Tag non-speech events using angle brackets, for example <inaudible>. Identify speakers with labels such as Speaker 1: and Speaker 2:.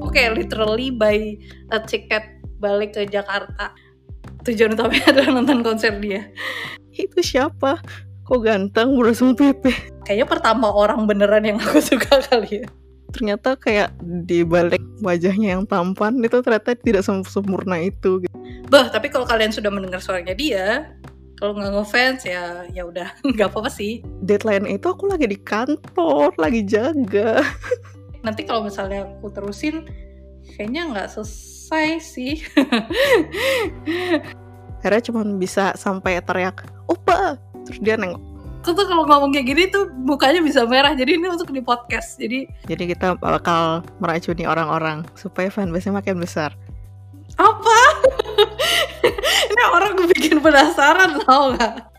Speaker 1: aku kayak literally buy a ticket balik ke Jakarta tujuan utamanya <laughs> adalah nonton konser dia
Speaker 2: itu siapa kok ganteng berasal Pepe
Speaker 1: kayaknya pertama orang beneran yang <laughs> aku suka kali ya
Speaker 2: ternyata kayak di balik wajahnya yang tampan itu ternyata tidak sem- sempurna itu gitu.
Speaker 1: bah tapi kalau kalian sudah mendengar suaranya dia kalau nggak ngefans ya ya udah <laughs> nggak apa-apa sih
Speaker 2: deadline itu aku lagi di kantor lagi jaga
Speaker 1: nanti kalau misalnya aku terusin kayaknya nggak selesai sih <laughs>
Speaker 2: akhirnya cuma bisa sampai teriak opa terus dia nengok
Speaker 1: aku tuh kalau ngomong kayak gini tuh mukanya bisa merah jadi ini untuk di podcast jadi
Speaker 2: jadi kita bakal meracuni orang-orang supaya fanbase-nya makin besar
Speaker 1: <laughs> apa ini orang bikin penasaran tau nggak